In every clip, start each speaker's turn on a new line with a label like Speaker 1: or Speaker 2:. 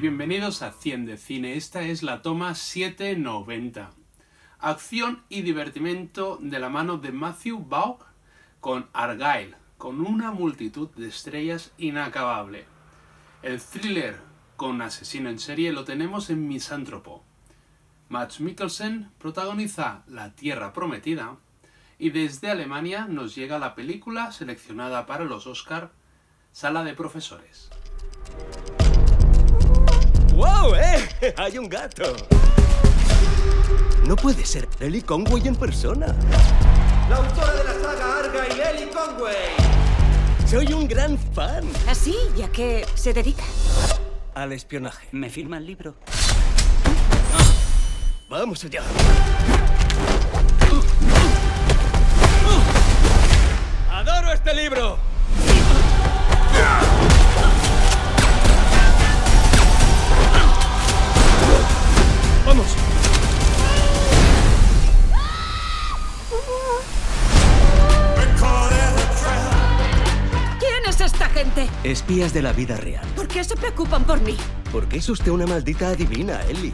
Speaker 1: bienvenidos a 100 de Cine. Esta es la toma 790. Acción y divertimento de la mano de Matthew Vaughn con Argyle, con una multitud de estrellas inacabable. El thriller con asesino en serie lo tenemos en Misántropo. Max Mikkelsen protagoniza La Tierra Prometida y desde Alemania nos llega la película seleccionada para los Oscar Sala de Profesores.
Speaker 2: ¡Wow, eh! ¡Hay un gato! No puede ser Ellie Conway en persona.
Speaker 3: La autora de la saga Argyle, Ellie Conway.
Speaker 2: Soy un gran fan
Speaker 4: Así, ya que se dedica.
Speaker 2: al espionaje. Ah,
Speaker 5: ¿Me firma el libro?
Speaker 2: Vamos allá. Ah, ¡Adoro este libro! ¡Vamos!
Speaker 4: ¿Quién es esta gente?
Speaker 2: Espías de la vida real.
Speaker 4: ¿Por qué se preocupan por mí?
Speaker 2: Porque es usted una maldita adivina, Ellie.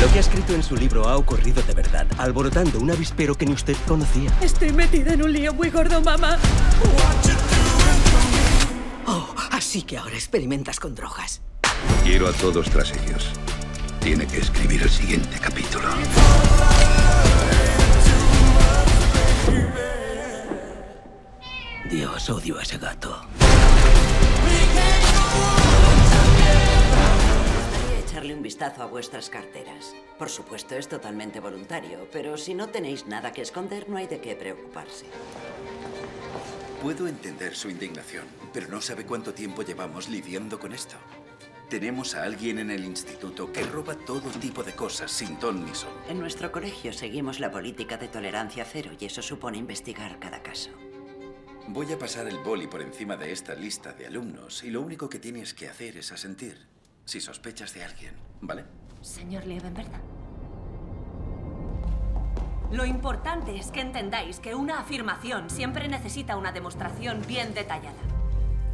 Speaker 2: Lo que ha escrito en su libro ha ocurrido de verdad, alborotando un avispero que ni usted conocía.
Speaker 4: Estoy metida en un lío muy gordo, mamá.
Speaker 6: Oh, así que ahora experimentas con drogas.
Speaker 7: Quiero a todos tras ellos. Tiene que escribir el siguiente capítulo.
Speaker 2: Dios, odio a ese gato.
Speaker 8: Voy a echarle un vistazo a vuestras carteras. Por supuesto, es totalmente voluntario, pero si no tenéis nada que esconder, no hay de qué preocuparse.
Speaker 9: Puedo entender su indignación, pero no sabe cuánto tiempo llevamos lidiando con esto. Tenemos a alguien en el instituto que roba todo tipo de cosas sin ton ni son.
Speaker 8: En nuestro colegio seguimos la política de tolerancia cero y eso supone investigar cada caso.
Speaker 9: Voy a pasar el boli por encima de esta lista de alumnos y lo único que tienes que hacer es asentir si sospechas de alguien, ¿vale?
Speaker 10: Señor Liebenberg. Lo importante es que entendáis que una afirmación siempre necesita una demostración bien detallada.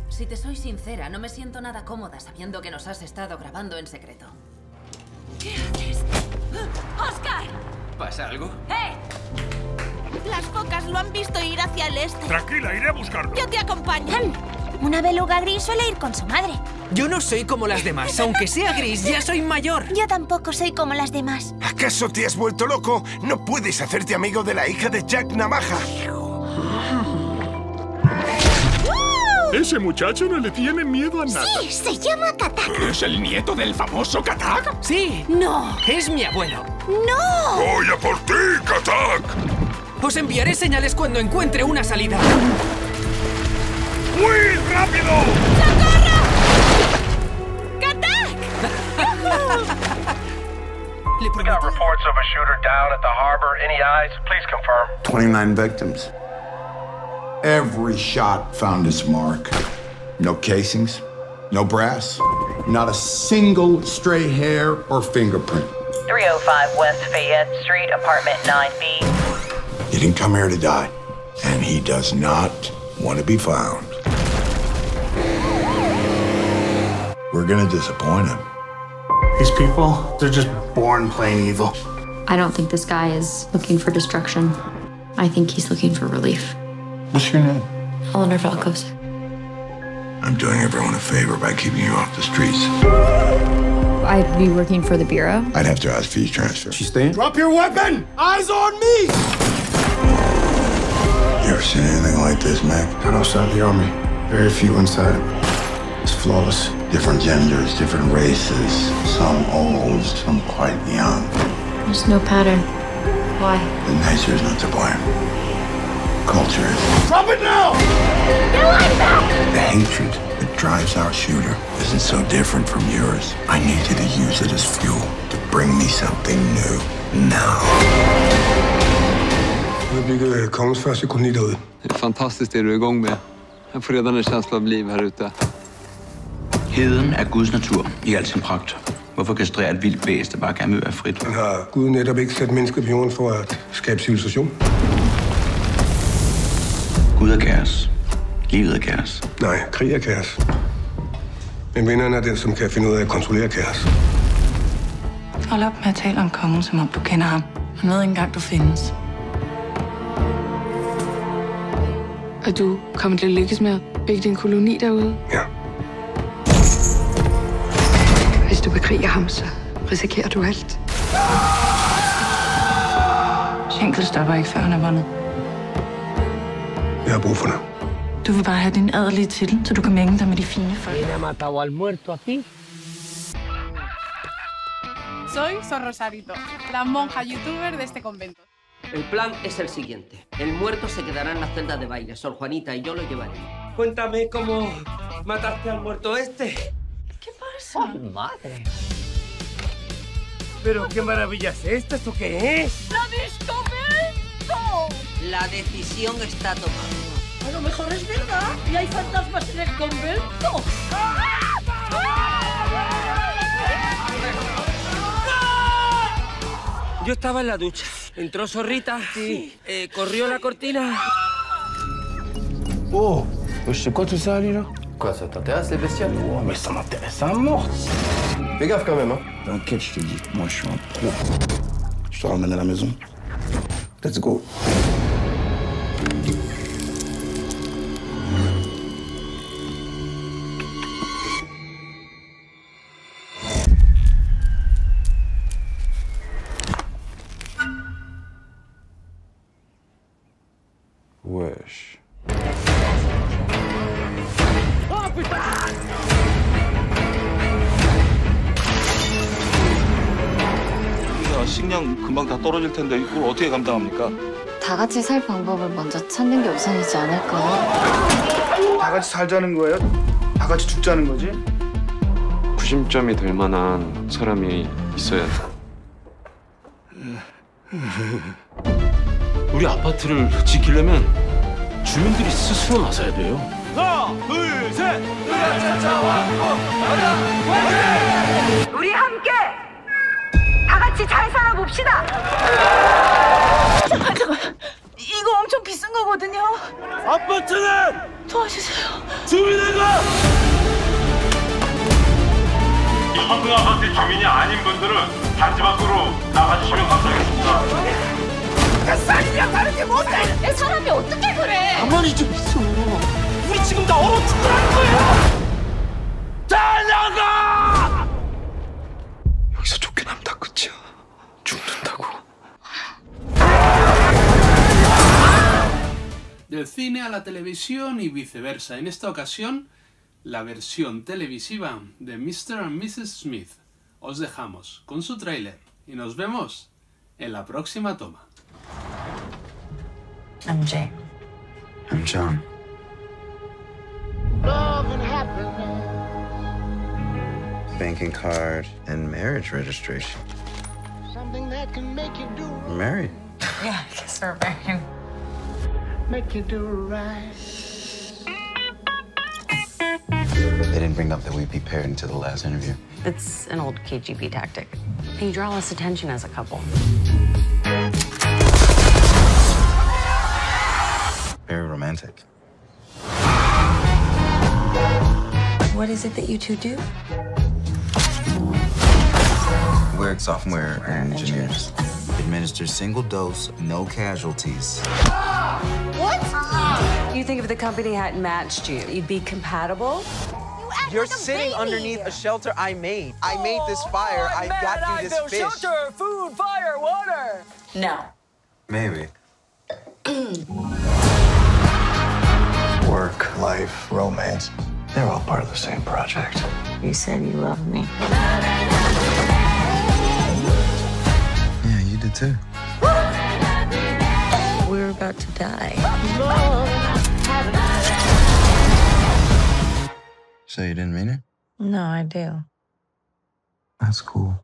Speaker 10: Si te soy sincera, no me siento nada cómoda sabiendo que nos has estado grabando en secreto. ¿Qué haces? ¡Oscar!
Speaker 9: ¿Pasa algo?
Speaker 10: ¡Eh!
Speaker 11: Las focas lo han visto ir hacia el este.
Speaker 12: Tranquila, iré a buscarlo.
Speaker 11: Yo te acompaño.
Speaker 10: Una beluga gris suele ir con su madre.
Speaker 6: Yo no soy como las demás, aunque sea gris, ya soy mayor.
Speaker 10: Yo tampoco soy como las demás.
Speaker 12: ¿Acaso te has vuelto loco? No puedes hacerte amigo de la hija de Jack Navaja. Ese muchacho no le tiene miedo a nada.
Speaker 10: Se llama Kataka.
Speaker 12: ¿Es el nieto del famoso Katak?
Speaker 6: Sí,
Speaker 10: No.
Speaker 6: es mi abuelo.
Speaker 10: No.
Speaker 12: ¡Voy a por ti, Katak!
Speaker 6: Os enviaré señales cuando encuentre una salida.
Speaker 12: ¡Muy rápido!
Speaker 6: Le prometo.
Speaker 3: reports of a shooter down at the harbor. Any eyes? Please confirm.
Speaker 7: 29 victims. Every shot found its mark. No casings, no brass, not a single stray hair or fingerprint.
Speaker 11: 305 West Fayette Street, apartment 9B.
Speaker 7: He didn't come here to die, and he does not want to be found. We're gonna disappoint him.
Speaker 3: These people, they're just born plain evil.
Speaker 10: I don't think this guy is looking for destruction. I think he's looking for relief.
Speaker 7: What's your name?
Speaker 10: Eleanor Valkos.
Speaker 7: I'm doing everyone a favor by keeping you off the streets.
Speaker 10: I'd be working for the bureau.
Speaker 7: I'd have to ask for your transfer. She's staying?
Speaker 2: ¡Drop your weapon! ¡Eyes on me!
Speaker 7: You ever seen anything like this, Mac? Not outside the army. Very few inside. It's flawless. Different genders, different races. Some old, some quite young.
Speaker 10: There's no pattern. Why?
Speaker 7: The nature is not to blame. Culture is.
Speaker 2: ¡Drop it now!
Speaker 7: The hatred that drives our shooter isn't so different from yours. I need you to use it as fuel to bring me something new now.
Speaker 3: Det bygger
Speaker 7: øh,
Speaker 3: konstfärsekoloni då.
Speaker 9: Fantastiskt det du är igång med. Jag får redan en känsla av liv här ute.
Speaker 5: Heden er Guds natur i al sin pragt. Hvorfor kastrere et vildt væsen, der bare gerne vil være frit?
Speaker 3: Den har Gud netop ikke sat mennesker på jorden for at skabe civilisation.
Speaker 5: Gud er kaos. Livet er kaos.
Speaker 3: Nej, krig er kaos.
Speaker 7: Men vinderne er den, som kan finde ud af at kontrollere kaos.
Speaker 10: Hold op med at tale om kongen, som om du kender ham. Han ved ikke engang, du findes. Er du kommet til at lykkes med at bygge din koloni derude?
Speaker 7: Ja.
Speaker 10: Hvis du bekriger ham, så risikerer du alt. Schenkel stopper ikke, før han er vundet.
Speaker 7: Jeg har brug for dig.
Speaker 10: Du vil bare have din adelige titel, så du kan mænge dig med de fine folk.
Speaker 13: Soy Sor Rosarito, la monja youtuber de este convento.
Speaker 8: El plan es el siguiente. El muerto se quedará en la celda de baile. Sor Juanita y yo lo llevaré.
Speaker 14: Cuéntame cómo mataste al muerto este.
Speaker 8: ¿Qué pasa?
Speaker 14: Madre. Pero qué maravilla es esta, ¿esto qué es?
Speaker 8: ¡La La decisión está tomada.
Speaker 15: A lo mejor es verdad y hay fantasmas en el convento.
Speaker 14: Yo estaba en la ducha. Entró Zorrita, eh, corrió la cortina.
Speaker 16: Oh, c'est quoi tout ça, là Quoi, ça t'intéresse, les bestioles Oh, mais ça m'intéresse à mort Fais gaffe quand même, hein T'inquiète, je te dis, moi je suis un pro. Je te ramène à la maison. Let's go. Wesh.
Speaker 15: ¡Oh, puta!
Speaker 17: 우리가 식량 금방 다 떨어질 텐데 이걸 어떻게 감당합니까?
Speaker 18: 다 같이 살 방법을 먼저 찾는 게 우선이지 않을까.
Speaker 19: 다 같이 살자는 거예요? 다 같이 죽자는 거지?
Speaker 20: 구심점이 될 만한 사람이 있어야 돼.
Speaker 16: 우리 아파트를 지키려면 주민들이 스스로 나서야 돼요.
Speaker 15: ¡No! ¡Dulce!
Speaker 21: 우리 함께 다 같이 잘 살아봅시다.
Speaker 15: 이거 엄청 비싼 거거든요. 아파트는 도와주세요.
Speaker 22: 주민들과 이만큼 아파트 주민이 아닌 분들은 단지 밖으로 나가주시면 감사하겠습니다.
Speaker 15: 그 살이랑 다른 게 뭔데? 내 사람이 어떻게 그래? 가만히 좀 있어. 우리 지금 다 얼어 죽으라는 거야. 다 나가!
Speaker 7: 여기서 쫓겨나면 다 끝이야. 죽는다고.
Speaker 1: Del cine a la televisión y viceversa. En esta ocasión, la versión televisiva de Mr. and Mrs. Smith. Os dejamos con su tráiler y nos vemos en la próxima toma.
Speaker 23: I'm Jay.
Speaker 1: I'm John.
Speaker 15: Love and happiness.
Speaker 9: Banking card and marriage registration.
Speaker 15: Something that can make you do,
Speaker 9: We're married.
Speaker 23: Yeah, I guess we're married.
Speaker 15: make you do right.
Speaker 9: They didn't bring up that we'd be paired until the last interview.
Speaker 23: It's an old KGB tactic. You draw less attention as a couple.
Speaker 9: Very romantic.
Speaker 23: What is it that you two do?
Speaker 9: We're software engineers. Administer single dose, no casualties.
Speaker 23: What? You think if the company hadn't matched you, you'd be compatible?
Speaker 2: You're sitting underneath a shelter I made. I made this fire. I got you this fish.
Speaker 15: food, fire, water.
Speaker 9: No. Maybe.
Speaker 24: Work, life, romance. They're all part of the same project.
Speaker 23: You said you love me.
Speaker 9: Yeah, you did too.
Speaker 23: We're about to die.
Speaker 9: So you didn't mean it?
Speaker 23: No, I do.
Speaker 9: That's cool.